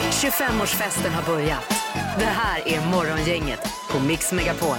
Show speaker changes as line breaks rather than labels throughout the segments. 25-årsfesten har börjat. Det här är Morgongänget på Mix Megapol.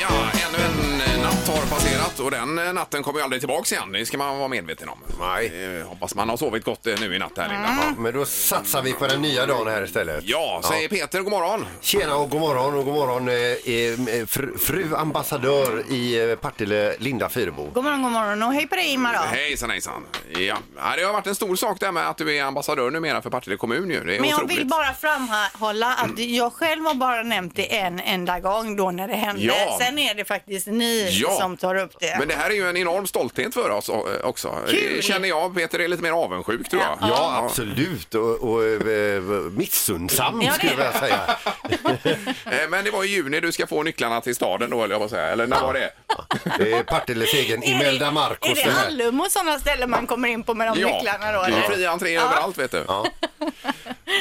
Ja, ännu en eh, natt har passerat och den eh, natten kommer ju aldrig tillbaks igen. Det ska man vara medveten om.
Nej.
Eh, Hoppas man har sovit gott eh, nu i natt här Linda.
Mm.
Men då satsar vi på den nya dagen här istället.
Ja, säger Peter, god morgon.
Tjena och god morgon och god morgon eh, eh, fru, fru ambassadör i eh, Partille, Linda Fyrebo.
God morgon, god morgon och hej på dig Ingmar då.
Hejsan hejsan. Ja, Ja, det har varit en stor sak det här med att du är ambassadör numera för Partille kommun ju. Det är
Men jag
otroligt.
vill bara framhålla att jag själv har bara nämnt det en enda gång då när det hände.
Ja.
Sen är det faktiskt ni
Ja.
som tar upp det.
Men det här är ju en enorm stolthet för oss eh, också. Det
Kul.
känner jag. Peter är lite mer avundsjuk tror jag.
Ja, absolut. Och, och eh, missundsam
Ja, det-
skulle jag vilja säga.
Eh, Men det var i juni du ska få nycklarna till staden då, eller jag säga. Eller när var det?
Det är Partilles egen
Är det-
Imelda Marcos.
Är det
den här.
Hallum och sådana ställen man kommer in på med de nycklarna då?
det är
eller?
fri entré överallt vet du.
Ja.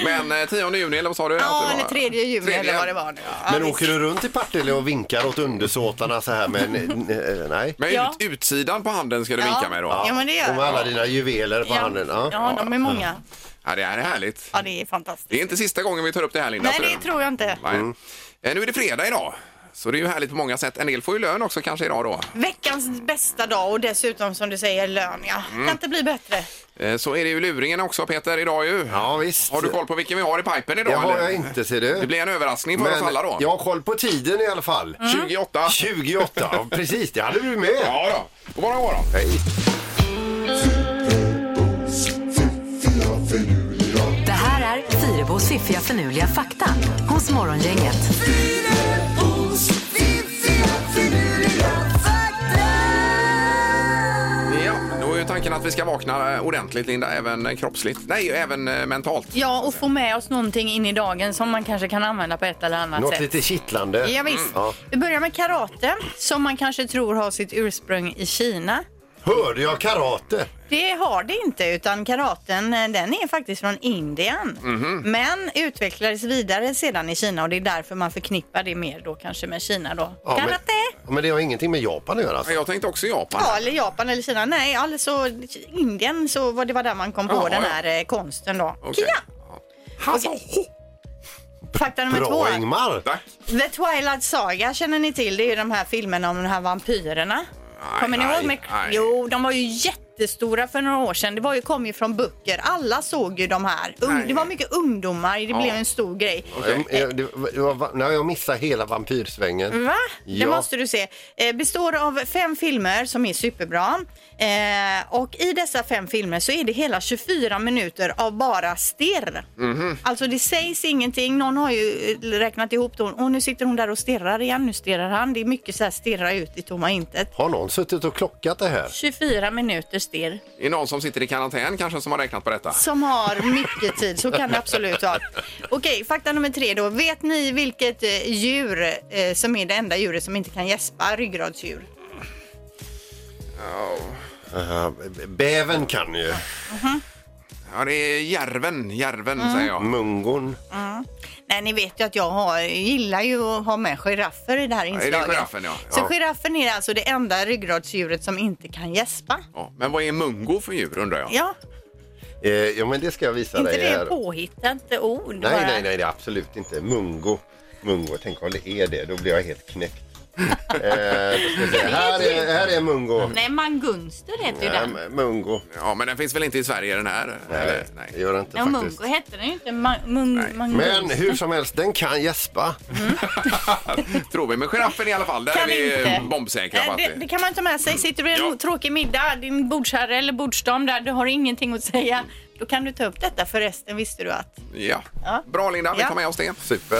Men eh, 10 juni eller vad sa du? Att
Ja,
det var-
eller 3 juni
Tredje.
eller vad det var nu. Ja,
Men
visst.
åker du runt i Partille och vinkar åt undersåtarna så här? Men eh, nej.
Men
Ja.
ut, utsidan på handen ska du
Ja.
vinka med då?
Ja, men det gör
Och med alla dina juveler på handen.
Ja.
Ja.
ja, de är många.
Ja, det här är härligt.
Ja, det är fantastiskt.
Det är inte sista gången vi tar upp det här Linda.
Nej,
tror
det
jag.
tror jag inte.
Nej.
Mm.
Eh, Nu är det fredag idag. Så det är ju härligt på många sätt. En del får ju lön också kanske idag då.
Veckans bästa dag och dessutom som du säger lön, ja. Kan inte bli bättre.
Eh, Så är det ju luringen också Peter idag ju.
ja, visst.
Har du koll på vilken vi har i pipen idag?
Det har
eller?
jag inte, ser du.
Det blir en överraskning för oss alla då.
jag har koll på tiden i alla fall.
Mm.
28.
28, ja, precis det hade du med.
Ja då. God morgon, god morgon.
Hej.
Det här är Fyrebos fiffiga förnuliga fakta hos Morgongänget.
Ja, då är ju tanken att vi ska vakna eh, ordentligt Linda, även eh, kroppsligt. Nej, även eh, mentalt.
Ja, och få med oss någonting in i dagen som man kanske kan använda på ett eller annat
Något
sätt.
lite kittlande.
Ja, visst.
Ja.
Vi börjar med karate, som man kanske tror har sitt ursprung i Kina.
Hörde jag karate?
Det har det inte, utan karaten eh, den är faktiskt från Indien. Men utvecklades vidare sedan i Kina och det är därför man förknippar det mer då kanske med Kina då.
Ja, men-
Karate!
Ja, men det har ingenting med Japan att göra alltså.
Ja, Jag tänkte också Japan.
Ja, eller Japan eller Kina. Nej, alltså Indien så var det var där man kom på
Jaha,
den
ja.
här eh, konsten då.
Okej.
Ja,
Alltså, ho!
fakta nummer två.
Bra Ingmar!
Tack.
The Twilight Saga känner ni till. Det är ju de här filmerna om de här vampyrerna.
Nej,
Kommer ni
nej,
ihåg? Med...
nej.
Jo, de var ju jättestora för några år sedan. Det var ju, kom ju från böcker. Alla såg ju de här. Ung...
Nej.
Det var mycket ungdomar. Det blev en stor grej.
Okej.
Jag, jag, eh, det var- det var, nej, jag missade hela vampyrsvängen.
Va?
Ja.
Det måste du se. Eh, består av fem filmer som är superbra. Eh, och i dessa fem filmer så är det hela 24 minuter av bara stirr. Alltså det sägs ingenting. Någon har ju eh, räknat ihop då. Och nu sitter hon där och stirrar igen. Nu stirrar han. Det är mycket så här stirra ut i tomma intet.
Har någon suttit och klockat det här?
24 minuter stirr.
Det är någon som sitter i karantän kanske som har räknat på detta.
Som har mycket tid, så kan det absolut vara. Okej, fakta nummer tre då. Vet ni vilket eh, djur eh, som är det enda djuret som inte kan gäspa? Ryggradsdjur.
Eh, Bäven kan ju.
Ja, det är järven, järven säger
Mm.
jag.
Mungon.
Nej, ni vet ju att jag har, gillar ju att ha med giraffer i det här
det är
inslaget.
giraffen, ja.
Så
Ja.
giraffen är alltså det enda ryggradsdjuret som inte kan gäspa.
Ja, men vad är mungo för djur undrar jag?
Ja,
Eh, ja men det ska jag visa
inte
dig
det
här.
är påhittat, inte ord bara.
Nej, nej, nej, det är absolut inte. Mungo. Mungo, tänk om det är det, då blir jag helt knäckt. eh, då ska vi se. här, är, här är Mungo.
Nej, mangunster heter ju
Ja,
den.
men Mungo.
Ja, men den finns väl inte i Sverige den här?
Nej,
Eller?
det
Nej.
gör det inte
Ja,
faktiskt.
mungo hette den ju inte. Ma- mun- mangunster.
Men hur som helst, den kan gäspa.
Tror vi, men giraffen i alla fall. Där är
Kan
vi
inte.
eh, bombsäkra på
Eh,
att
Det, det
det...
kan man ta med sig. Sitter du i en
Ja.
tråkig middag, din bordsherre eller bordsdam där, du har ingenting att säga. Då kan du ta upp detta förresten, visste du att.
Ja.
Ja.
Bra Linda, vi
Ja.
tar med oss det.
Super.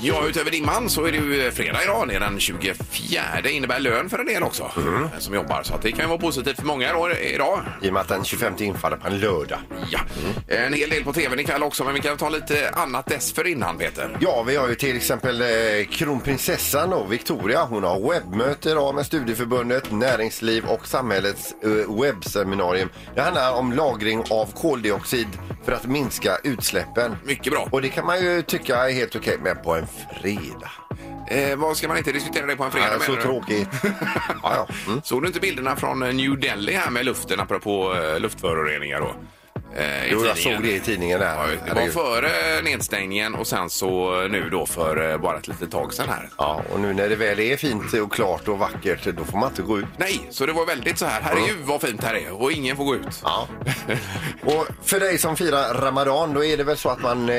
Ja, utöver din man så är det ju fredag idag. Det är den 24. Det innebär lön för en del också
Mm.
eh, som jobbar. Så att det kan ju vara positivt för många idag- idag.
I och med att den 25 infaller på en lördag.
Ja. Eh, En hel del på tvn ikväll också, men vi kan ta lite annat dessförinnan Peter.
Ja, vi har ju till exempel eh, kronprinsessan och Victoria. Hon har webbmöte idag med Studieförbundet, Näringsliv och Samhällets eh, webbseminarium. Det handlar om lagring av koldioxid för att minska utsläppen.
Mycket bra.
Och det kan man ju tycka är helt okej, men på en fredag.
Eh, vad ska man inte diskutera det på en fredag?
Ja, så
menar du?
tråkigt. ja, ja. Mm.
Såg du inte bilderna från eh, New Delhi här med luften apropå eh, luftföroreningar då? Eh, i
Jo, jag
tidningen.
såg det i tidningen där.
Ja, det var
Herregud.
före eh, nedstängningen och sen så nu då för eh, bara ett litet tag sedan här.
Ja, och nu när det väl är fint och klart och vackert, då får man inte gå ut.
Nej, så det var väldigt så här. Herregud vad fint här är och ingen får gå ut.
Ja. Och för dig som firar Ramadan, då är det väl så att man eh,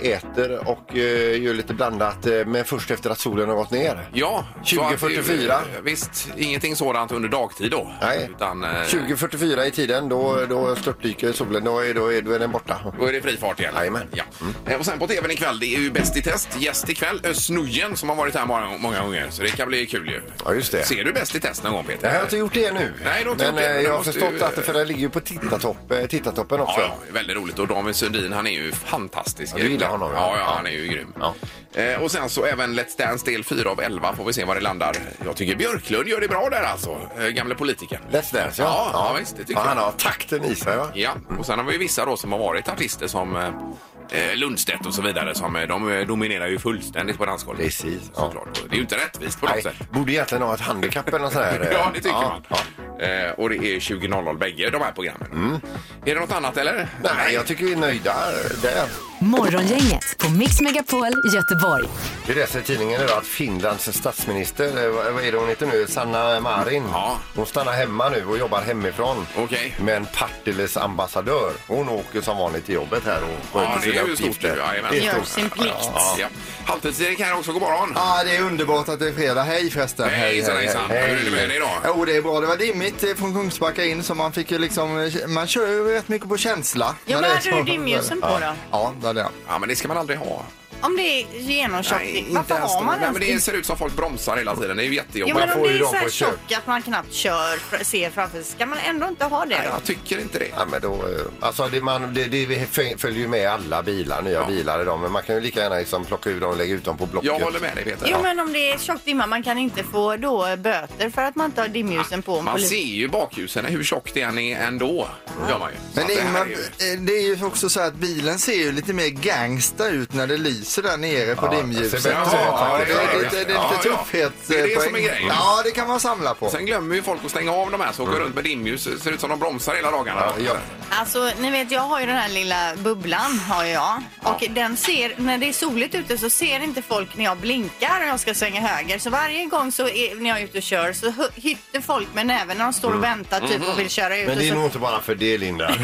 äter och eh, gör lite blandat, eh, men först efter att solen har gått ner?
Ja, så att det-
2044.
Visst, ingenting sådant under dagtid då.
Nej.
Utan, eh,
2044 i tiden, då, då störtdyker solen. Då är, då är, då är den borta.
Då är det fri fart igen.
Jajamän. Mm.
Ja. Eh, Och sen på tvn ikväll, det är ju Bäst i test. Gäst ikväll, Özz Nujen som har varit här många, många gånger. Så det kan bli kul ju.
Ja, just det.
Ser du Bäst i test någon gång Peter?
Jag har inte gjort det nu.
Nej, du har inte
men
gjort det, men
eh,
du
jag har
måste
förstått
ju-
att det, för den ligger ju på tittartopp, eh, tittartoppen också.
Ja, ja, väldigt roligt. Och David Sundin, han är ju fantastisk.
Ja, du gillar honom,
Ja,
ja.
ja, han är ju grym.
Ja.
Eh, och sen så även Let's Dance del 4 av 11. Får vi se var det landar. Jag tycker Björklund gör det bra där alltså. Eh, gamle politikern.
Let's Dance, ja.
Ja, ja, visst, det tycker
Han
jag.
har takten i sig, va?
Ja, och sen har vi ju vissa då som har varit artister som eh, eh, Lundstedt och så vidare. Som, eh, de eh, dominerar ju fullständigt på dansgolvet.
Precis, ja.
Såklart. Det är ju inte rättvist på något
Nej,
sätt.
borde egentligen ha ett handikapp eller något sånt här. eh.
Ja, det tycker
Ja,
man.
ja. Mm.
Eh, och det är 20.00 bägge de här programmen. Är det något annat eller?
Nej, jag tycker vi är nöjda där.
Morgongänget på Mix Megapol Göteborg.
Vi läser i tidningen idag att Finlands statsminister, eh, vad vad är det hon heter nu, Sanna Marin.
Ja.
Hon stannar hemma nu och jobbar hemifrån.
Okej.
Men Partilles ambassadör, hon åker som vanligt till jobbet här och sköter
Ja, det är
sina
ju stort
uppgifter.
ju, jajamän.
det
Gör
är stort.
sin plikt.
Ja. Ja. Halvtids-Erik här också, god morgon.
Ja, det är underbart att det är fredag. Hej förresten!
Hejsan, hejsan. Hur är det med dig idag?
Jo, det är bra. Det var dimmigt eh, från Kungsbacka in så man fick ju liksom,
eh,
man kör ju rätt mycket på känsla.
Ja,
när
vad
det är
hade du
så-
dimljusen på då?
Ja, det hade jag.
Ja, men det ska man aldrig ha.
Om det är genomtjockt,
Nej, inte
varför
ens
har
de-
man
Nej, men det
ens...
ser ut som folk bromsar hela tiden. Det är ju
Jo,
jättejobbigt.
men om
får
det
ju
är
dem
så här
på köp.
tjockt att man knappt kör, fr- ser framför sig, ska man ändå inte ha det
Nej,
då?
jag tycker inte det.
Ja, men då, eh, alltså det, man, det, det följer ju med alla bilar, nya
Ja.
bilar idag, men man kan ju lika gärna liksom plocka ur dem och lägga ut dem på Blocket.
Jag håller med dig, Peter.
Jo, men om det är tjock dimma, man kan inte få då eh, böter för att man inte har dimljusen på. om
Man
polis-
ser ju bakljusen, hur tjockt det än är ändå. Det Gör man ju. Så
Men
att
det,
det här
Ingmar,
är ju...
eh, det är ju också så här att bilen ser ju lite mer gangsta ut när det lyser där nere på
Ja, det
dimljuset.
ser bättre ut
Ja,
faktiskt.
det är lite, det är
Ja,
lite
ja.
tuffhet.
Det är det
eh,
som är
poäng.
grejen.
Ja, det kan man samla på.
Sen glömmer ju folk att stänga av de här så åker runt med dimljus. Ser ut som de bromsar hela dagarna.
Ja, ja.
Alltså, ni vet, jag har ju den här lilla bubblan har jag. Och den ser, när det är soligt ute så ser inte folk när jag blinkar och jag ska svänga höger. Så varje gång så är, när jag är ute och kör så hö- hytter folk med näven när de står och väntar typ och vill köra ut.
Mm. Men
och
det är
så,
nog inte bara för det, Linda.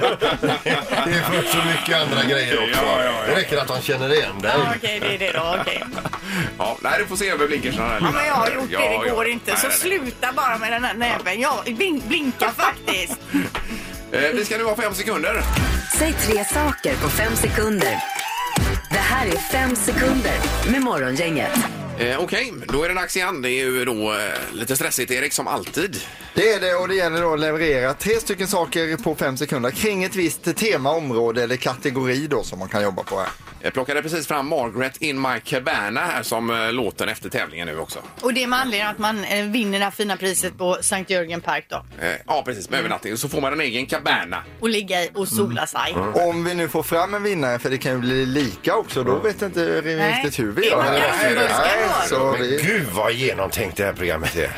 det är för så mycket andra grejer också.
Ja, ja, ja.
Det räcker att de känner igen dig.
Ja, okej, det är det då. Okej.
Ja, nej, du får se över blinkersarna. här,
Ja,
Linda.
men jag har gjort
Ja,
det, det
ja.
går inte.
Nej,
Så
nej, nej.
sluta bara med den här näven. Jag blink, blinkar faktiskt.
Eh, Vi ska nu ha fem sekunder.
Säg tre saker på fem sekunder. Det här är fem sekunder med Morgongänget.
Eh, Okej, då är det dags igen. Det är ju då eh, lite stressigt, Erik, som alltid.
Det är det och det gäller då att leverera tre stycken saker på fem sekunder kring ett visst tema, område eller kategori då som man kan jobba på här.
Jag plockade precis fram Margaret in my cabana här som eh, låten efter tävlingen nu också.
Och det är med anledning att man eh, vinner det här fina priset på Sankt Jörgen Park då.
Eh, Ja, precis. Med övernattning. Så får man en egen cabana.
Och ligga i och
Mm.
sola sig.
Om vi nu får fram en vinnare, för det kan ju bli lika också, då vet jag inte
Nej.
riktigt hur vi
Det är
gör.
man
kanske
Nej,
ska
nej,
göra.
så
Men
vi...
gud vad genomtänkt det här programmet är.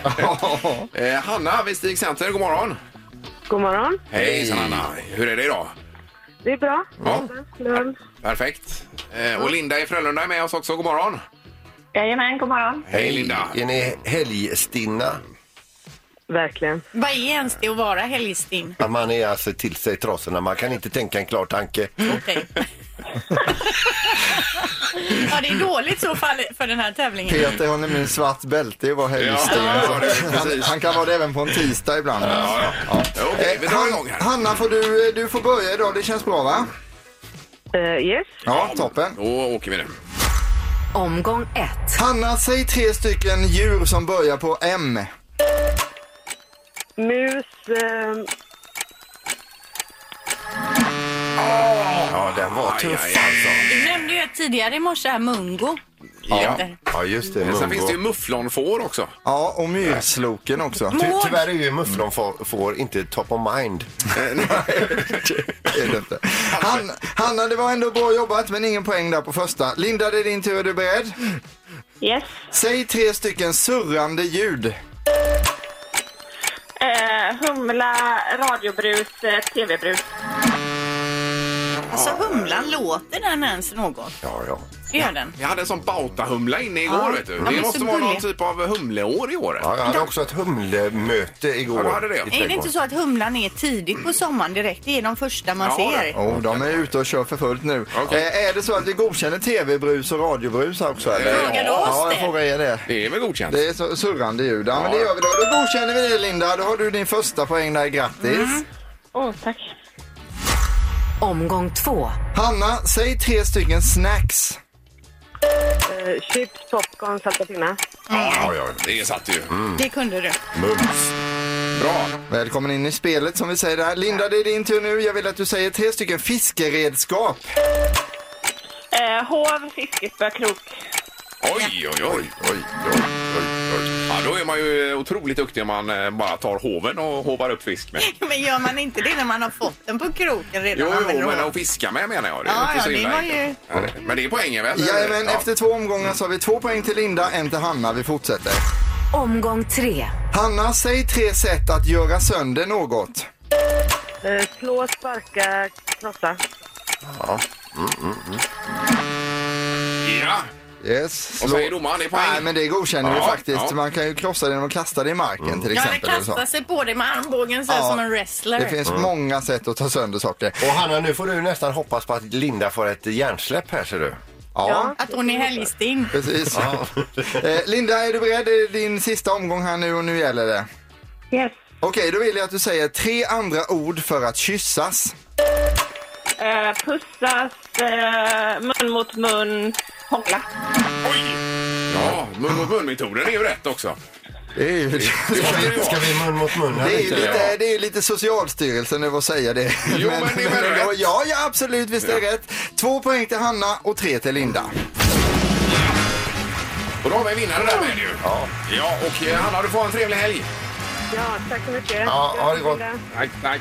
Eh, Hanna vid Stig Center, god morgon.
God morgon.
Hej Hanna. Hur är det idag?
Det är bra.
Ja.
Lugn.
Perfekt. Eh, Och Linda i Frölunda är med oss också. God morgon.
Jajamän, god morgon.
Hej Linda.
Är ni helgstinna?
Verkligen.
Vad är ens det att vara helgstim?
Att man är alltså till sig trasorna. Man kan inte tänka en klar tanke.
Okej. ja, det är dåligt så fall för den här tävlingen.
Peter har nämligen svart bälte i vår helgsten.
Ja, ja, det är
han,
precis.
han kan vara det även på en tisdag ibland.
Ja, ja. Okej, vi
Eh,
drar
Han-
igång här.
Hanna, får du, eh, du får börja idag. Det känns bra va?
Eh, yes.
Ja, toppen.
Då åker vi nu.
Omgång ett.
Hanna, säg tre stycken djur som börjar på M.
Mus. Eh,
Ja, den var
Aj,
tuff
aj,
alltså.
Du nämnde ju tidigare i morse här Mungo.
Ja.
Ja, just det.
Sen finns det ju
Mungo.
mufflonfår också.
Ja, och myrsloken också.
Ty tyvärr är ju mufflon får, får inte top of mind.
Det är det inte. Han, Hanna, det var ändå bra jobbat men ingen poäng där på första. Linda, det är din tur. Är du beredd?
Yes.
Säg tre stycken surrande ljud.
Eh, humla, radiobrus, eh, tv-brus.
Alltså humlan, låter den ens något?
Ja, ja.
Gör den?
Vi hade en sån bautahumla inne igår.
Ja.
Vet du.
Ja,
Det
men
måste
så
vara någon
gullig.
typ av humleår i år.
ja jag hade också ett humlemöte igår.
Ja, du hade det.
i
Är det
Är det
trädgården.
inte så att humlan är tidigt på sommaren direkt? Det är de första man
Ja,
ser.
det.
Oh, de är ute och kör för fullt nu.
Okej.
Eh, är det så att vi godkänner tv-brus och radiobrus här också? Eller?
Frågar du
oss
Ja, jag
det?
frågar er det.
Det är väl godkänt?
Det är så surrande ljud. Ja, men det gör vi då. Då godkänner vi det Linda. Då har du din första poäng där. Grattis.
Åh, tack.
Omgång två.
Hanna, säg tre stycken snacks.
eh, chips, popcorn, salta pinnar.
Ja, ja, Mm. det satt ju.
Det kunde du.
Mums.
Bra.
Välkommen in i spelet som vi säger där. Linda, det är din tur nu. Jag vill att du säger tre stycken fiskeredskap.
Eh, hov, fiskespö, krok.
Oj, oj, oj.
Oj, oj, oj, oj.
Ja, då är man ju otroligt duktig om man eh, bara tar hoven och hovar upp fisk med.
Men gör man inte det när man har fått den på kroken redan?
Jo, jo,
använder
men
man-
att fiska med menar jag. Det är
Ja,
inte så
ja, det
illa
var
enkelt. Ja, det- Men det är poängen väl?
Jajamän, efter två omgångar så har vi två poäng till Linda, en till Hanna. Vi fortsätter.
Omgång tre.
Hanna, säg tre sätt att göra sönder något.
Eh, slå, sparka, krossa.
Ja,
Yes.
Och
slå-
säger domaren, det är poäng.
Nej, men det godkänner vi
Ja,
faktiskt.
ja.
Man kan ju krossa det genom att kasta det i marken till
Ja, den
exempel. eller så.
kastar sig på dig med armbågen så här
Ja.
som en wrestler.
Det finns många sätt att ta sönder saker.
Och Hanna, nu får du nästan hoppas på att Linda får ett hjärnsläpp här ser du.
Ja,
Att hon är helgsting.
precis. Eh, Linda, är du beredd? Det är din sista omgång här nu och nu gäller det.
Yes.
Okej, då vill jag att du säger tre andra ord för att kyssas.
Eh, pussas, eh, mun mot mun, hångla.
oj! Ja, mun mot mun-metoden är ju rätt också.
Det är ju,
Ska vi-
Ska vi mun mot mun? här
det är ju
lite?
lite, det är ju lite Socialstyrelsen över att säga det.
Jo, men det är väl
då-
rätt.
Ja, ja, absolut, visst är det rätt. Två poäng till Hanna och tre till Linda.
Och då har vi en vinnare där med ju. Ja. ja, och eh, Hanna, du får ha en trevlig helg.
Ja, tack så mycket.
Ja, ha det gott.
Tack, tack.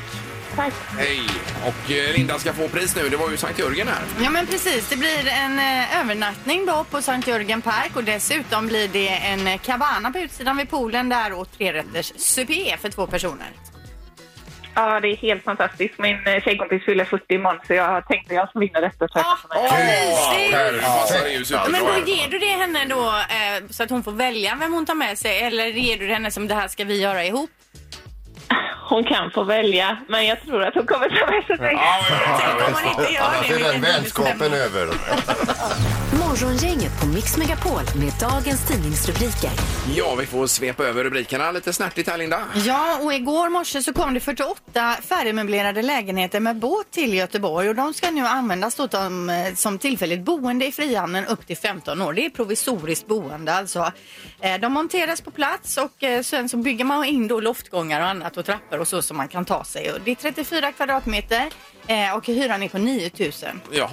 Tack.
Hej. Och eh, Linda ska få pris nu. Det var ju Sankt Jörgen här.
Ja men precis, det blir en eh, övernattning då på Sankt Jörgen Park och dessutom blir det en eh, cabana på utsidan vid poolen där och trerätters supé för två personer.
Ja, det är helt fantastiskt. Min eh, tjejkompis fyller 40 imorgon så jag tänkte jag ska vinna detta. Så jag kan få med.
Åh, mysigt!
här passar det ju
Ja, Men
superbra.
då ger du det henne då eh, så att hon får välja vem hon tar med sig eller ger du det henne som det här ska vi göra ihop?
Hon kan få välja, men jag tror att hon kommer ta med sig mig.
Ja, ja, ja.
Tänk om hon inte gör
Annars
det.
är den
vilken
vänskapen
bestämning.
över.
Morgongänget på Mix Megapol med dagens tidningsrubriker.
ja, vi får svepa över rubrikerna lite snärtigt här, Linda.
Ja, och igår morse så kom det 48 färdigmöblerade lägenheter med båt till Göteborg och de ska nu användas då som, eh, som tillfälligt boende i Frihamnen upp till 15 år. Det är provisoriskt boende alltså. Eh, De monteras på plats och eh, sen så bygger man in då loftgångar och annat och trappor och så som man kan ta sig. Och Det är 34 kvadratmeter eh, och hyran är på 9 000.
Jaha,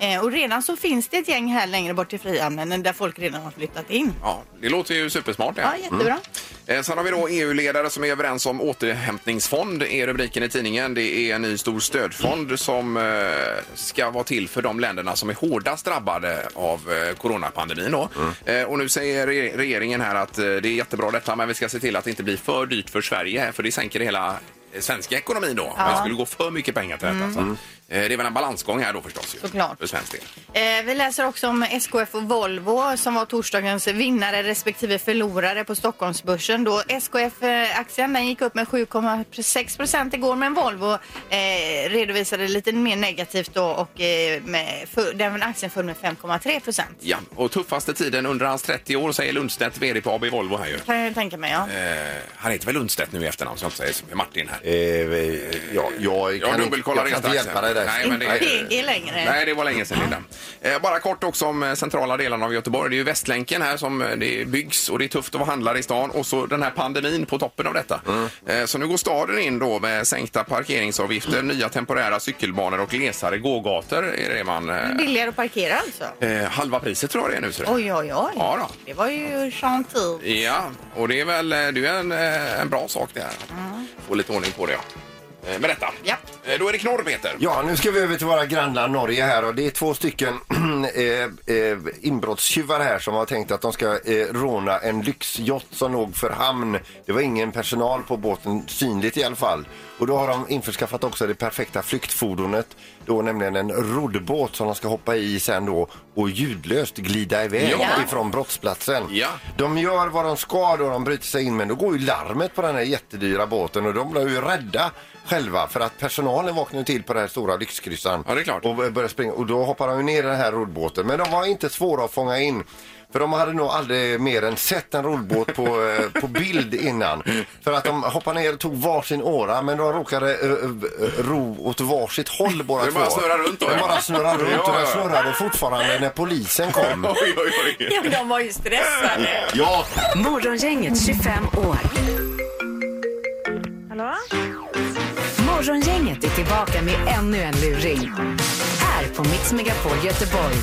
ja.
Eh, Och redan så finns det ett gäng här längre bort i Frihamnen där folk redan har flyttat in.
Ja, det låter ju supersmart det.
Ja, jättebra.
Eh, Sen har vi då EU-ledare som är överens om återhämtningsfond är rubriken i tidningen. Det är en ny stor stödfond som eh, ska vara till för de länderna som är hårdast drabbade av eh, coronapandemin. Då. Eh, och nu säger re- regeringen här att eh, det är jättebra detta men vi ska se till att det inte blir för dyrt för Sverige här, för det sänker hela eh, svenska ekonomin då. Ja. Det skulle gå för mycket pengar till detta. Så. Eh, Det är väl en balansgång här då förstås. Ju,
Såklart.
För svensk del.
Eh, vi läser också om SKF och Volvo som var torsdagens vinnare respektive förlorare på Stockholmsbörsen. Då SKF-aktien eh, den gick upp med 7,6 procent igår men Volvo eh, redovisade lite mer negativt då och eh, med, för, den aktien föll med 5,3 procent.
Ja, och tuffaste tiden under hans 30 år säger Lundstedt, VD på AB Volvo här ju.
Kan jag ju tänka mig ja.
Eh, han heter väl Lundstedt nu i efternamn så jag inte säger som Martin här.
Eh, eh, ja, jag
Jag
kan, inte-
dubbelkollar
jag kan
det
inte
strax.
hjälpa dig där.
Nej, men det-
Inte PG längre.
Nej, det var länge sedan Linda. Eh, bara kort också om eh, centrala delarna av Göteborg. Det är ju Västlänken här som eh, det byggs och det är tufft att vara handlare i stan och så den här pandemin på toppen av detta.
Mm.
Eh, så nu går staden in då med sänkta parkeringsavgifter, nya temporära cykelbanor och glesare gågator är det man... Eh,
Billigare att parkera alltså.
eh, halva priset tror jag det är nu. ser du.
Oj, oj, oj.
Ja då.
Det var ju chantil.
Ja, och det är väl eh, det är en, eh, en bra sak det här. Få lite ordning på det. Ja. eh, med detta.
Mm. Ja.
Eh, Då är det knorr, Peter.
Ja, nu ska vi över till våra grannland Norge här och det är två stycken eh, eh, inbrottstjuvar här som har tänkt att de ska eh, råna en lyxjott som låg för hamn. Det var ingen personal på båten, synligt i alla fall. Och då har de införskaffat också det perfekta flyktfordonet, då nämligen en roddbåt som de ska hoppa i sen då och ljudlöst glida iväg
Ja.
ifrån brottsplatsen.
Ja.
De gör vad de ska då de bryter sig in men då går ju larmet på den här jättedyra båten och de blir ju rädda själva för att personalen vaknar ju till på den här stora lyxkryssan.
Ja, det är klart.
Och börjar springa och då hoppar de ju ner i den här roddbåten. Men de var inte svåra att fånga in. För de hade nog aldrig mer än sett en roddbåt på, eh, på bild innan. För att de hoppade ner och tog varsin åra men de råkade eh, eh, ro åt varsitt håll båda
Det
två.
bara snurrar runt då,
Det
ja.
bara snurrar runt
Ja,
och den
ja.
snurrade fortfarande när polisen kom.
Oj, oj, oj.
Ja, de var ju stressade.
Ja,
Morgongänget 25 år.
Hallå?
Morgongänget är tillbaka med ännu en luring. Här på Mix Megapol Göteborg.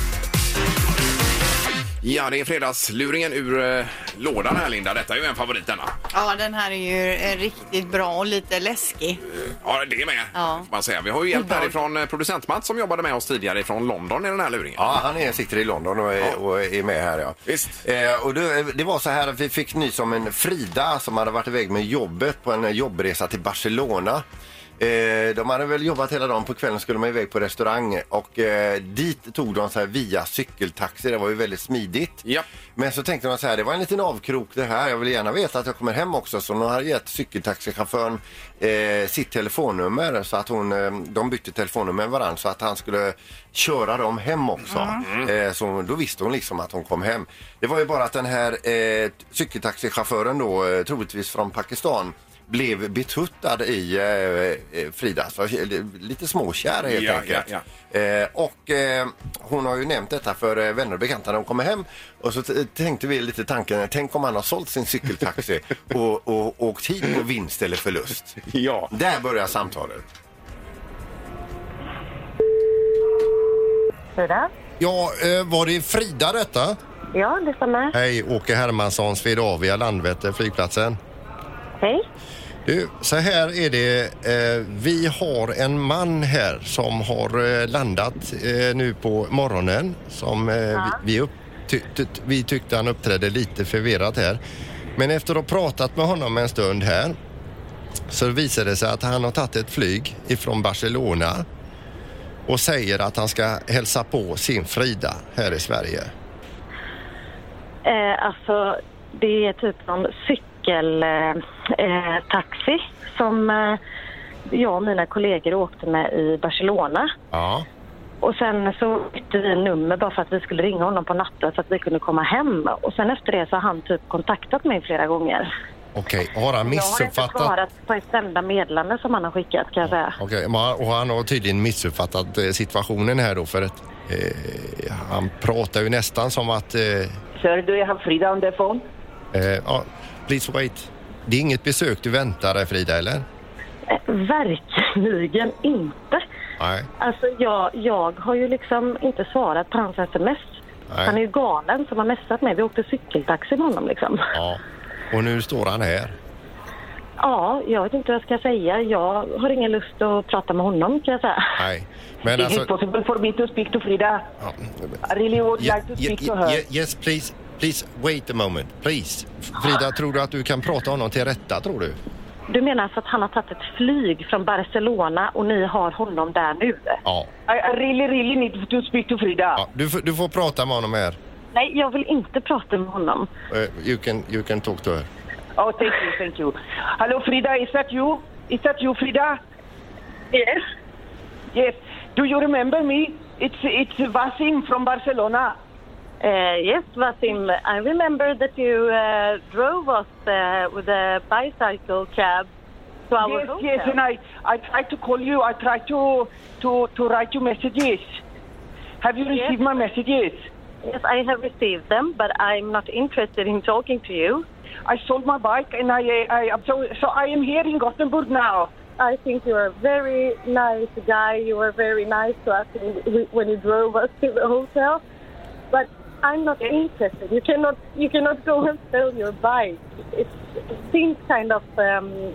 Ja, det är fredagsluringen ur eh, lådan här, Linda. Detta är ju en favorit denna.
Ja, den här är ju eh, riktigt bra och lite läskig.
Ja, det är med.
Ja.
Får man säga. Vi har ju hjälp härifrån eh, producent Mats som jobbade med oss tidigare från London i den här luringen.
Ja, han är, sitter i London och är, och är med här. Ja.
Visst.
Eh, och det, det var så här att vi fick nys om en Frida som hade varit iväg med jobbet på en jobbresa till Barcelona. Eh, de hade väl jobbat hela dagen. På kvällen skulle man iväg på restaurang och eh, dit tog de så här via cykeltaxi. Det var ju väldigt smidigt.
Japp.
Men så tänkte de så här, det var en liten avkrok det här. Jag vill gärna veta att jag kommer hem också. Så de hade gett cykeltaxichauffören eh, sitt telefonnummer så att hon, eh, de bytte telefonnummer med varandra så att han skulle köra dem hem också.
Mm.
Eh, så då visste hon liksom att hon kom hem. Det var ju bara att den här eh, cykeltaxichauffören då, eh, troligtvis från Pakistan, blev betuttad i eh, eh, Frida. Så, eh, lite småkär helt
Ja,
enkelt.
ja,
Eh, och eh, hon har ju nämnt detta för eh, vänner och bekanta när hon kommer hem. Och så t- tänkte vi lite tanken, tänk om han har sålt sin cykeltaxi och, och åkt hit på vinst eller förlust.
Ja.
Där börjar samtalet.
Frida?
Ja, eh, var det Frida detta?
Ja, det stämmer.
Hej, Åke Hermansson, Swedavia, Landvetter, flygplatsen.
Hej.
Du, så här är det. Eh, vi har en man här som har eh, landat eh, nu på morgonen. Som eh, vi, vi, upp, ty, ty, vi tyckte han uppträdde lite förvirrat här. Men efter att ha pratat med honom en stund här så visade det sig att han har tagit ett flyg ifrån Barcelona och säger att han ska hälsa på sin Frida här i Sverige.
Eh, alltså, det är typ någon cykeltaxi eh, taxi som eh, jag och mina kollegor åkte med i Barcelona.
Ja.
Och sen så bytte vi nummer bara för att vi skulle ringa honom på natten så att vi kunde komma hem. Och sen efter det så har han typ kontaktat mig flera gånger.
Okej, har han
Jag har inte
missuppfattat?
svarat på ett enda meddelande som han har skickat kan jag säga.
Okej, men han- och han har tydligen missuppfattat eh, situationen här då för att eh, han pratar ju nästan som att... Eh,
Sir, do you have Frida on the phone?
eh, ja, please wait. Det är inget besök du väntar dig Frida, eller?
Eh, verkligen inte.
Nej.
Alltså jag, jag har ju liksom inte svarat på hans sms.
Nej.
Han är ju galen som har messat mig. Vi åkte cykeltaxi med honom liksom.
Ja. Och nu står han här.
Ja, jag vet inte vad jag ska säga. Jag har ingen lust att prata med honom kan jag säga.
Nej. Men
Is
alltså...
it possible for me to speak to Frida?
Ja.
I really would
Ye-
like to speak
ye-
to her.
ye- yes, please. Please wait a moment. Please. Frida, tror du att du kan prata honom till rätta, tror du?
Du menar alltså att han har tagit ett flyg från Barcelona och ni har honom där nu?
Ja.
I, I really, really need to speak to Frida.
ja. Du, får- du får prata med honom här.
Nej, jag vill inte prata med honom.
Eh, you, can, you can talk to her.
Oh, thank you, thank you. Hello, Frida, is that you? Is that you, Frida?
Yes.
Yes. Do you remember me? It's it's Vasim from Barcelona.
Uh, yes, Vasim. I remember that you uh, drove us uh, with a bicycle cab to our
yes,
hotel.
yes, and I, I tried to call you. I tried to to to write you messages. Have you
Yes.
received my messages?
Yes, I have received them, but I'm not interested in talking to you.
I sold my bike and I, I am so so I am here in Gothenburg now.
I think you are a very nice guy. You were very nice to us when- when you drove us to the hotel, but I'm not interested. You cannot, you cannot go and sell your bike. It seems kind of um,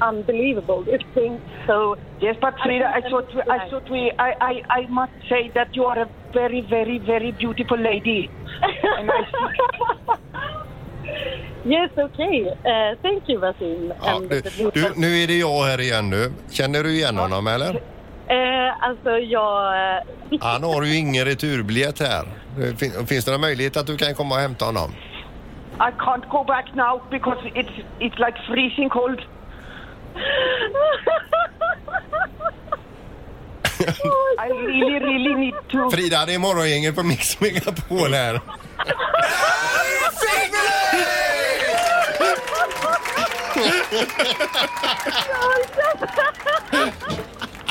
unbelievable. This thing. So yes, but Frida, I thought we, I thought we I, I I must say that you are a very very very beautiful lady. and I
Yes, okay. Uh, thank you, Vasim.
Ja,
And
du,
the blue
du, nu är det jag här igen nu. Känner du igen honom eller?
Eh, alltså, jag... eh,
Han har ju ingen returbiljett här. Det fin- Finns det någon möjlighet att du kan komma och hämta honom?
I can't go back now because it's it's like freezing cold. I really really need to.
Frida, det är morgongänget på Mix Megapol här.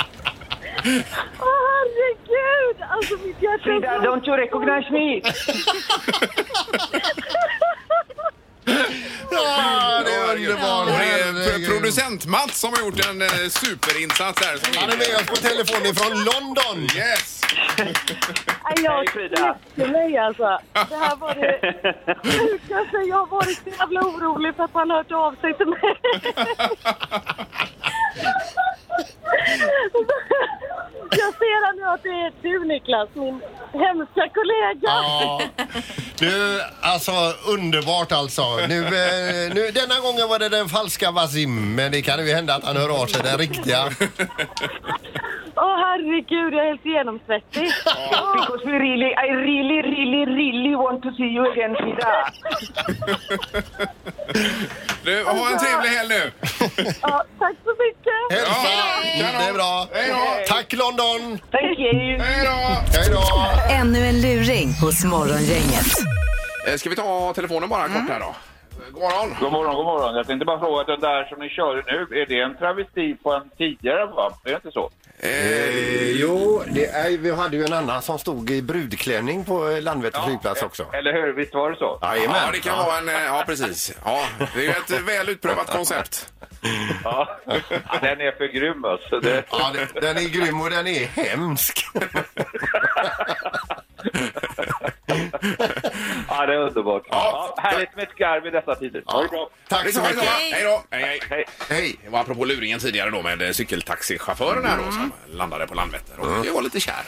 Åh, herregud! Alltså, mitt hjärta...
Frida, don't you recognize me?
Ja, det är
Och
underbart.
det är
Herregud.
producent Mats som har gjort en eh, superinsats här. Som
Han är med oss på telefon ifrån London.
Yes!
Nej, jag
Hej, Frida.
knäckte mig alltså. Det här var det sjukaste. Jag har varit så jävla orolig för att han hört av sig till mig. Jag ser här nu att det är du Niklas, min hemska kollega.
Ja. Du, alltså underbart alltså. Nu, eh, nu, denna gången var det den falska Wasim, men det kan ju hända att han hör av sig den riktiga.
Åh herregud, jag är helt genomsvettig.
Because we really, I really, really, really want to see you again, Frida.
Du, ha en trevlig helg nu!
Ja, tack så mycket.
Hälsa!
Ja,
Det är bra.
Hej då.
Tack London!
Thank you.
Hej då!
Hej då!
Ännu en luring hos Morgongänget.
Eh, Ska vi ta telefonen bara kort här då? Eh, God morgon!
God morgon, god morgon. Jag tänkte bara fråga, den där som ni körde nu, är det en travesti på en tidigare va? Är det inte så?
Eh,
jo, det är, vi hade ju en annan som stod i brudklänning på eh, Landvetter flygplats också.
Eller hur? Visst var det så?
Jajamän.
Ja, det kan vara en... eh, Ja, precis. Ja, det är ju ett eh, väl utprövat koncept.
Ja. Den är för grym alltså. Det...
Ja, det- den är grym och den är hemsk.
Ja, det är underbart.
Ja.
Ja, härligt med ett garv i dessa tider. Ha det bra.
Tack så mycket.
Hej då! Hej, hej.
Hej.
Hej.
Det var apropå luringen tidigare då med eh, cykeltaxichauffören här
Mm.
då som landade på Landvetter. Och jag var lite kär.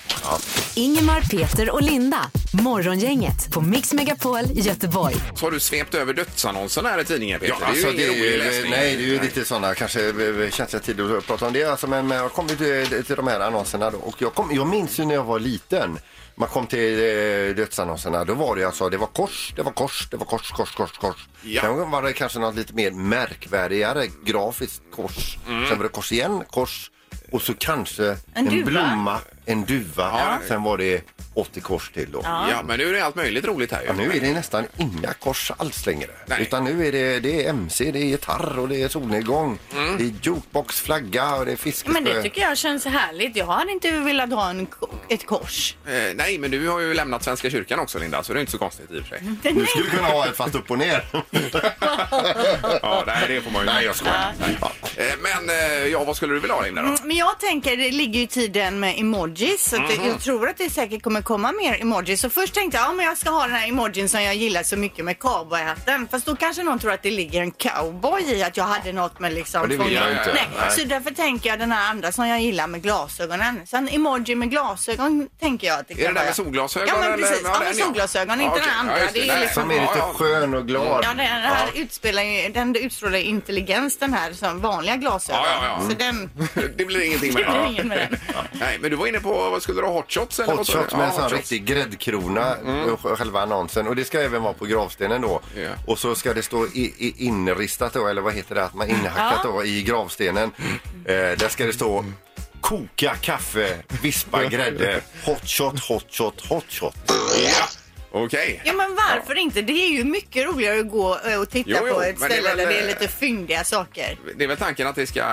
Ingemar, Peter och Linda. Morgongänget på Mix Megapol i Göteborg.
Så har du svept över dödsannonsen här i tidningen Peter.
Ja, alltså, det är
ingen
ju,
rolig läsning.
nej, det är ju lite sådana kanske eh, känsliga tider att prata om det. Alltså, men men jag kom ju till, till de här annonserna då, och jag, kom, jag minns ju när jag var liten. Man kom till eh, dödsannonserna, då var det alltså, det var kors, det var kors, det var kors, kors, kors, kors.
Ja.
Sen var det kanske något lite mer märkvärdigare grafiskt kors. Sen var det kors igen, kors och så kanske en,
duva.
blomma, en duva. Sen var det 80 kors till då.
Ja, men nu är det allt möjligt roligt här ju.
Ja, nu är det nästan inga kors alls längre.
Nej.
Utan nu är det, det är MC, det är gitarr och det är solnedgång.
Mm.
Det är jukebox, flagga och det är fiskespö.
Men det tycker jag känns härligt. Jag hade inte velat ha en, ko- ett kors.
Eh, nej, men du har ju lämnat Svenska kyrkan också Linda, så det är inte så konstigt i och för sig.
Du skulle kunna ha ett fast upp och ner.
Ja, nej, det får man ju Nej, jag skojar. Nej. Eh, Men eh, ja, vad skulle du vilja ha Linda då?
Mm, Men jag tänker, det ligger ju i tiden med emojis. Så att Jag tror att det säkert kommer komma mer emojis. Så först tänkte jag, ja men jag ska ha den här emojin som jag gillar så mycket med cowboyhatten. Fast då kanske någon tror att det ligger en cowboy i att jag hade något med liksom...
Och det vill
fånga-
jag inte.
Nej. Så därför tänker jag den här andra som jag gillar med glasögonen. Så en emoji med glasögon tänker jag att det kan
Är det där
vara.
med solglasögon?
Ja men
eller?
precis, ja,
den,
med solglasögon. Inte
Ja, okej.
den andra.
Ja, just
det är
Nej.
ju liksom...
Som är lite
Ja, ja.
skön och glad.
Ja, den här utspelar ju, den utstrålar intelligens den här som vanliga glasögon.
Ja, ja, ja.
Så den...
Det blir ingenting med
Det blir ingen med den.
Nej, men du var inne på, vad skulle du ha, hot shots? Eller vad
Hot
sa du?
shot med en
Ja,
sån
hot shots.
riktig gräddkrona, eh, själva annonsen. Och det ska även vara på gravstenen då.
Mm. Ja.
Och så ska det stå i, i, inristat då, eller vad heter det, att man inhackat då i gravstenen.
Mm.
Eh, där ska det stå koka kaffe, vispa grädde, hot shot, hot shot, hot shot.
Okej.
Ja men varför inte? Det är ju mycket roligare att gå eh, och titta
Jo, jo,
på ett
men det är
ställe
väl,
där det
eh,
är lite fyndiga saker.
Det är väl tanken att det ska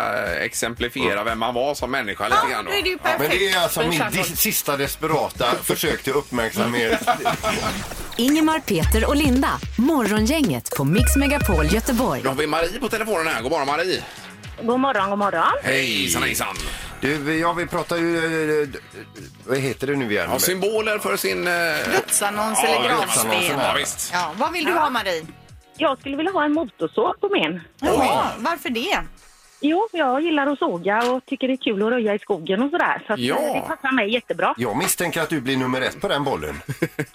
exemplifiera vem man var som människa lite
Ja,
grann då.
det är ju
Ja,
perfekt.
men det är
för
alltså
en
min
samtal.
dis- sista desperata försök till uppmärksamhet.
Ingemar, Peter och Linda. Morgongänget på Mix Megapol Göteborg.
Då har vi Marie på telefonen här. God morgon Marie!
God morgon, god morgon.
Hejsan hejsan!
Du, ja, vi pratar ju... eh, d- Vad heter det nu igen?
Ja, symboler för sin... eh,
Dödsannons
Ja,
eller
dödsannonsen,
gravsten.
Ja, visst.
Ja, vad vill du ha Marie?
Jag skulle vilja ha en motorsåg på min.
Jaha, varför det?
Jo, jag gillar att såga och tycker det är kul att röja i skogen och sådär. Så att,
Ja.
eh, det passar mig jättebra.
Jag misstänker att du blir nummer ett på den bollen.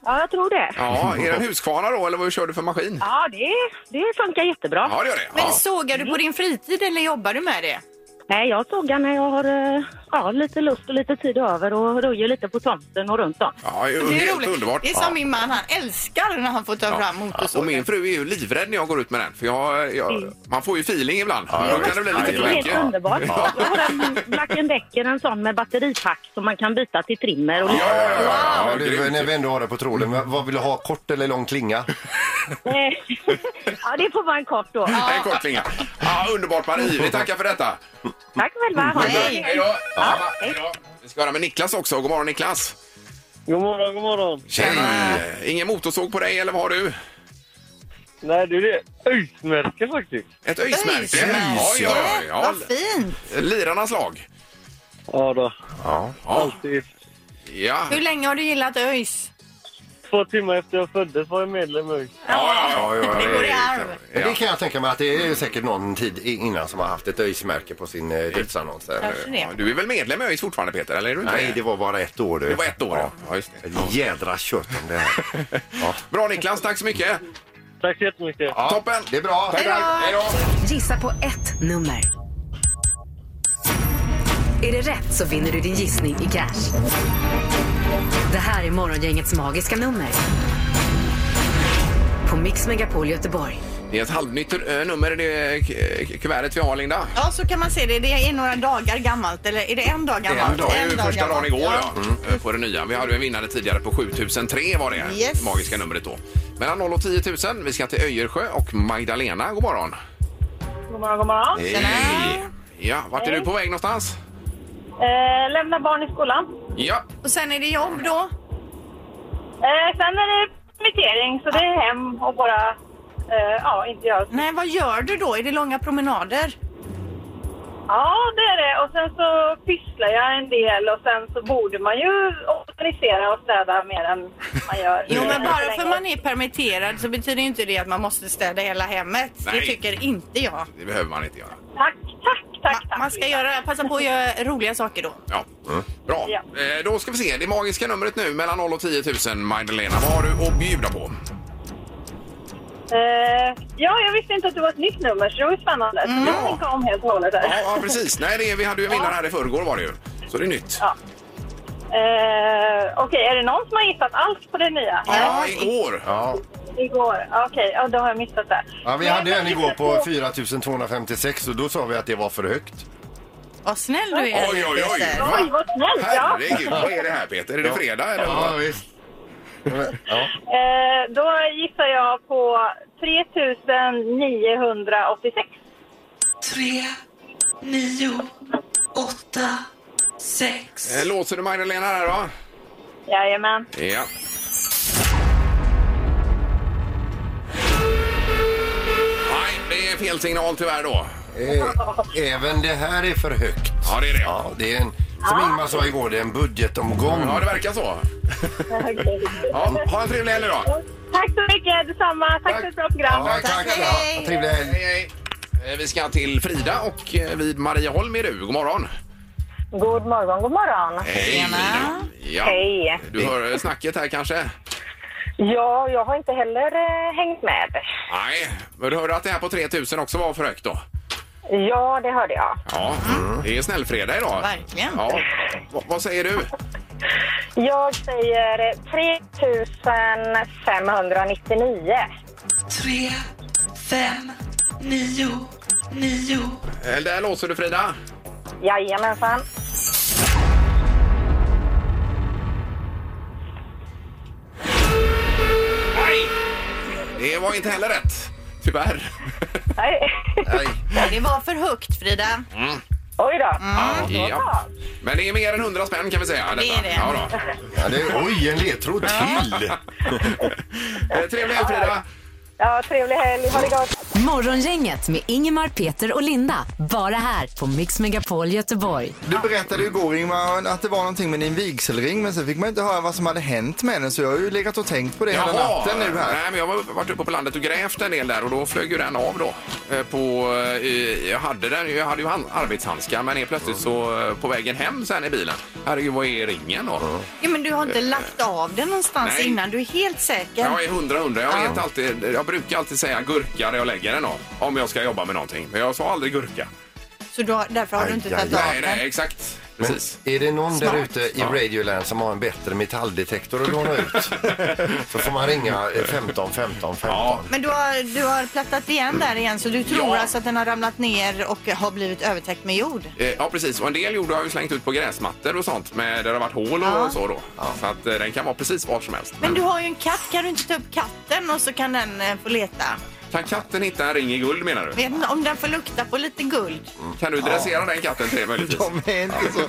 Ja, jag tror det. Ja,
Ja, är det en Husqvarna då eller vad kör du för maskin?
det, det funkar jättebra.
Ja, det gör det.
Men
Ja.
sågar du på din fritid eller jobbar du med det?
Nej, jag sågar när jag har eh, ja, lite lust och lite tid över och röjer lite på tomten och runt om.
Ja, det är
Det är
helt
roligt.
underbart.
Det är som min man, han älskar när han får ta fram
Ja, Och
motorsågen.
min fru är ju livrädd när jag går ut med den. För jag, jag, man får ju feeling ibland.
ja,
Då kan det bli
Ja,
lite
det är helt
för mycket.
underbart. Jag har en Black Decker, en sån med batteripack som man kan byta till trimmer. Och
Ja, ja, ja, ja,
Ja,
ja,
du,
grymt.
när vi ändå har det på tråden, vad- vad vill du ha? Kort eller lång klinga?
Eh, ja, det får vara en kort då.
En kort klinga. Ja, underbart Marie, vi tackar för detta.
Tack själva. Ha en bra
Hej.
Hej då! Ja, hej då. Vi ska höra med Niklas också. God morgon Niklas!
God morgon, god morgon.
Tjena! Ingen motorsåg på dig eller vad har du?
Nej, du, det är öjsmärke faktiskt.
Ett öjsmärke?
Öjsmärke?
Ja, ja, ja.
Vad fint!
Lirarnas lag.
Ja då,
Ja.
typ.
Ja.
Hur länge har du gillat ÖIS?
Två timmar efter jag föddes var jag medlem i ÖIS.
Ja, ja, ja,
Det går i arv.
Men Det kan jag tänka mig att det är ju säkert någon tid i- innan som har haft ett öjsmärke på sin eh, dödsannons. eller-
Kanske det.
Ja, Du är väl medlem i ÖIS fortfarande Peter? Eller är du inte?
Nej, det var bara ett år du.
Det var ett år. Ja, ja just det.
Ett Jädra kött om det här. Ja.
Bra Niklas, tack så mycket!
Tack så jättemycket.
Ja,
Toppen!
Det är bra.
Tack, tack. Hej då!
Gissa på ett nummer. Är det rätt så vinner du din gissning i cash. Det här är Morgongängets magiska nummer. På Mix Megapol Göteborg.
Det är ett halvnytt eh, nummer i det eh, k- kuvertet vi har, Linda.
Ja, så kan man se det. Det är några dagar gammalt. Eller är det en dag gammalt?
Det var ju första dagen
gammalt.
igår ja. eh, på det nya. Vi hade ju en vinnare tidigare på 7003 var det
Yes.
magiska numret då. Mellan 0 och 10 000. Vi ska till Öjersjö och Magdalena. God morgon!
God morgon, god morgon.
Hej! Ja, vart är du på väg någonstans?
Eh, lämna barn i skolan.
Ja,
Och sen är det jobb då?
Eh, sen är det permittering, så det är hem och bara eh, ja, inte göra
Nej, vad gör du då? Är det långa promenader?
Ja, det är det. Och sen så pysslar jag en del och sen så borde man ju organisera och städa mer än man gör.
Jo, men bara
Än så
för
länge.
man är permitterad så betyder inte det att man måste städa hela hemmet.
Nej.
Det tycker inte jag.
det behöver man inte göra.
Tack, tack, tack.
Ma-
tack
man ska göra, passa på att göra roliga saker då.
Ja. Bra,
Ja.
Eh, då ska vi se. Det magiska numret nu mellan 0 och 10 000, Magdalena. Vad har du att bjuda på?
Eh, ja, jag visste inte att det var ett nytt nummer, så det var ju spännande. Mm. Jag tänker om helt och hållet här.
Ja, ja precis. Nej, det är, vi hade ju en vinnare här i förrgår var det ju. Så det är nytt.
Ja. Eh, Okej, är det någon som har gissat allt på det nya?
Ja, igår.
Ja.
Igår? Okej, ja, då har jag missat det.
Ja, vi
Men
hade ju
jag
en
kan
igår
gissa
på 4256 och då sa vi att det var för högt.
Vad snäll du är.
Oj, oj, oj.
Peter.
Oj, vad snällt! Ja.
Herregud, vad är det här Peter? Är det fredag eller? vad?
visst. Ja.
Eh, då gissar jag på 3986.
Eh, Låser du Magdalena här då?
Jajamän.
Ja. Nej, det är fel signal tyvärr då.
Eh, Även det här är för högt.
Ja, det är det.
Ja, det är en, som Ingmar sa igår, det är en budgetomgång.
Ja, det verkar så.
Okej.
Ja, ha en trevlig helg idag.
Tack så mycket, detsamma. Tack, för ett bra program.
Ja, tack.
Tack, hej.
Ja, trevlig helg.
Hej, hej. Eh, Vi ska till Frida och eh, vid Marieholm är du. God morgon.
God morgon, god morgon.
Hej, Frida. Ja.
Hej.
Du hör eh, snacket här kanske?
Ja, jag har inte heller eh, hängt med.
Nej, men du hörde att det här på 3000 också var för högt då?
Ja, det hörde jag.
Ja, det är snällfredag idag.
Verkligen.
Ja. Va- vad säger du?
Jag säger eh, 3599.
Eh, Där låser du Frida.
Jajamensan.
Nej! Det var inte heller rätt. Tyvärr.
Nej.
Nej.
Det var för högt, Frida.
Oj då.
Mm. Ja. Men det är mer än 100 spänn kan vi säga.
Det är det.
Ja, då.
Ja, det, oj, en ledtråd till!
Eh, Trevlig helg Frida.
Ja, trevlig helg. Ha det gott.
Morgongänget med Ingemar, Peter och Linda. Bara här på Mix Megapol Göteborg.
Du berättade ju igår Ingmar att det var någonting med din vigselring men sen fick man inte höra vad som hade hänt med den så jag har ju legat och tänkt på det hela natten nu här.
Nej, men jag har varit uppe på landet och grävt en del där och då flög ju den av då. Eh, På, eh, jag hade den, jag hade ju han- arbetshandskar men helt plötsligt så eh, på vägen hem sen i bilen. Herregud, vad är ringen då?
Ja, men du har inte lagt av den någonstans
Nej.
innan. Du är helt säker.
Jag är hundra hundra. Jag, vet alltid, jag brukar alltid säga gurka när jag lägger den av. Om jag ska jobba med någonting. Men jag sa aldrig gurka.
Så du har, därför har du inte
Aj,
tagit
aj,
av
Nej,
den.
nej, exakt.
Men
Precis.
Är det någon där ute i
Ja.
Radioland som har en bättre metalldetektor att låna ut så får man ringa eh, 15 15 15.
Ja.
Men du har, du har plattat igen där igen så du tror
Ja.
alltså att den har ramlat ner och har blivit övertäckt med jord?
Eh, Ja, precis. Och en del jord har jag ju slängt ut på gräsmattor och sånt. Med, där det har varit hål och
Ja.
så då. Så att eh, den kan vara precis var som helst.
Men du har ju en katt, kan du inte ta upp katten och så kan den eh, få leta?
Kan katten hitta en ring i guld menar du?
Vet inte om den får lukta på lite guld.
Kan du dressera den katten till det möjligtvis?
De är inte så.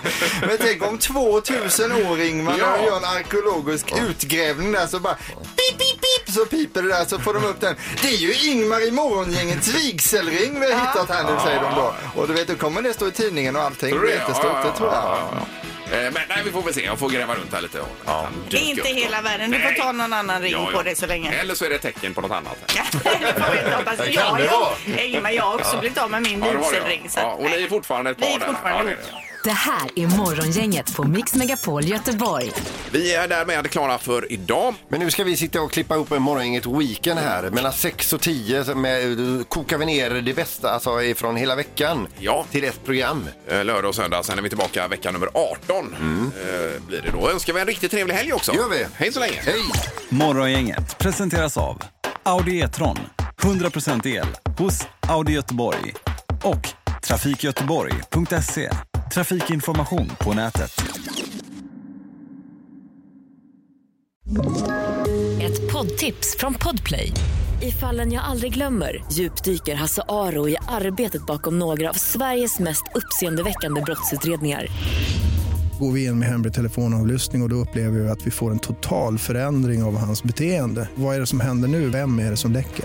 Men tänk om 2000 år Ingmar,
Ja.
när de gör en arkeologisk utgrävning där så bara pip, pip, pip så piper det där så får de upp den. Det är ju Ingmar i morgongängets vigselring vi har hittat här nu säger de då. Och du vet, då kommer det stå i tidningen och allting.
Tror
Det
du
blir jättestort, det tror jag.
Ja, ja, ja. Eh, Men nej, vi får väl se. Jag får gräva runt här lite. och- Han
Det
dyker
är inte
upp då.
hela världen. Du
Nej.
får ta någon annan ring
Ja, ja.
på dig så länge.
Eller så är det ett tecken på något annat.
Ja, eller får vi inte hoppas.
Det
Jag
kan
har
det
ju- Ingemar, jag har också blivit av med min
Ja, det var det,
vigselring. så
ja.
att-
ja, och ni är fortfarande ett par
Vi är
där.
fortfarande
ja, det är
Det
det.
här är Morgongänget på Mix Megapol Göteborg.
Vi är därmed klara för idag.
Men nu ska vi sitta och klippa ihop en morgongänget weekend här. Mellan 6 och 10 så med, eh, kokar vi ner det bästa alltså, från hela veckan
Ja.
till ett program.
Eh, Lördag och söndag, sen är vi tillbaka vecka nummer 18. Eh, blir det då. Önskar vi en riktigt trevlig helg också.
Mm. gör vi.
Hej så länge.
Hej!
Morgongänget presenteras av Audi E-tron. 100% el hos Audi Göteborg. Och trafikgöteborg.se. Trafikinformation på nätet.
Ett poddtips från Podplay. I fallen jag aldrig glömmer djupdyker Hasse Aro i arbetet bakom några av Sveriges mest uppseendeväckande brottsutredningar.
Går vi in med hemlig telefonavlyssning och, och då upplever vi att vi får en total förändring av hans beteende. Vad är det som händer nu? Vem är det som läcker?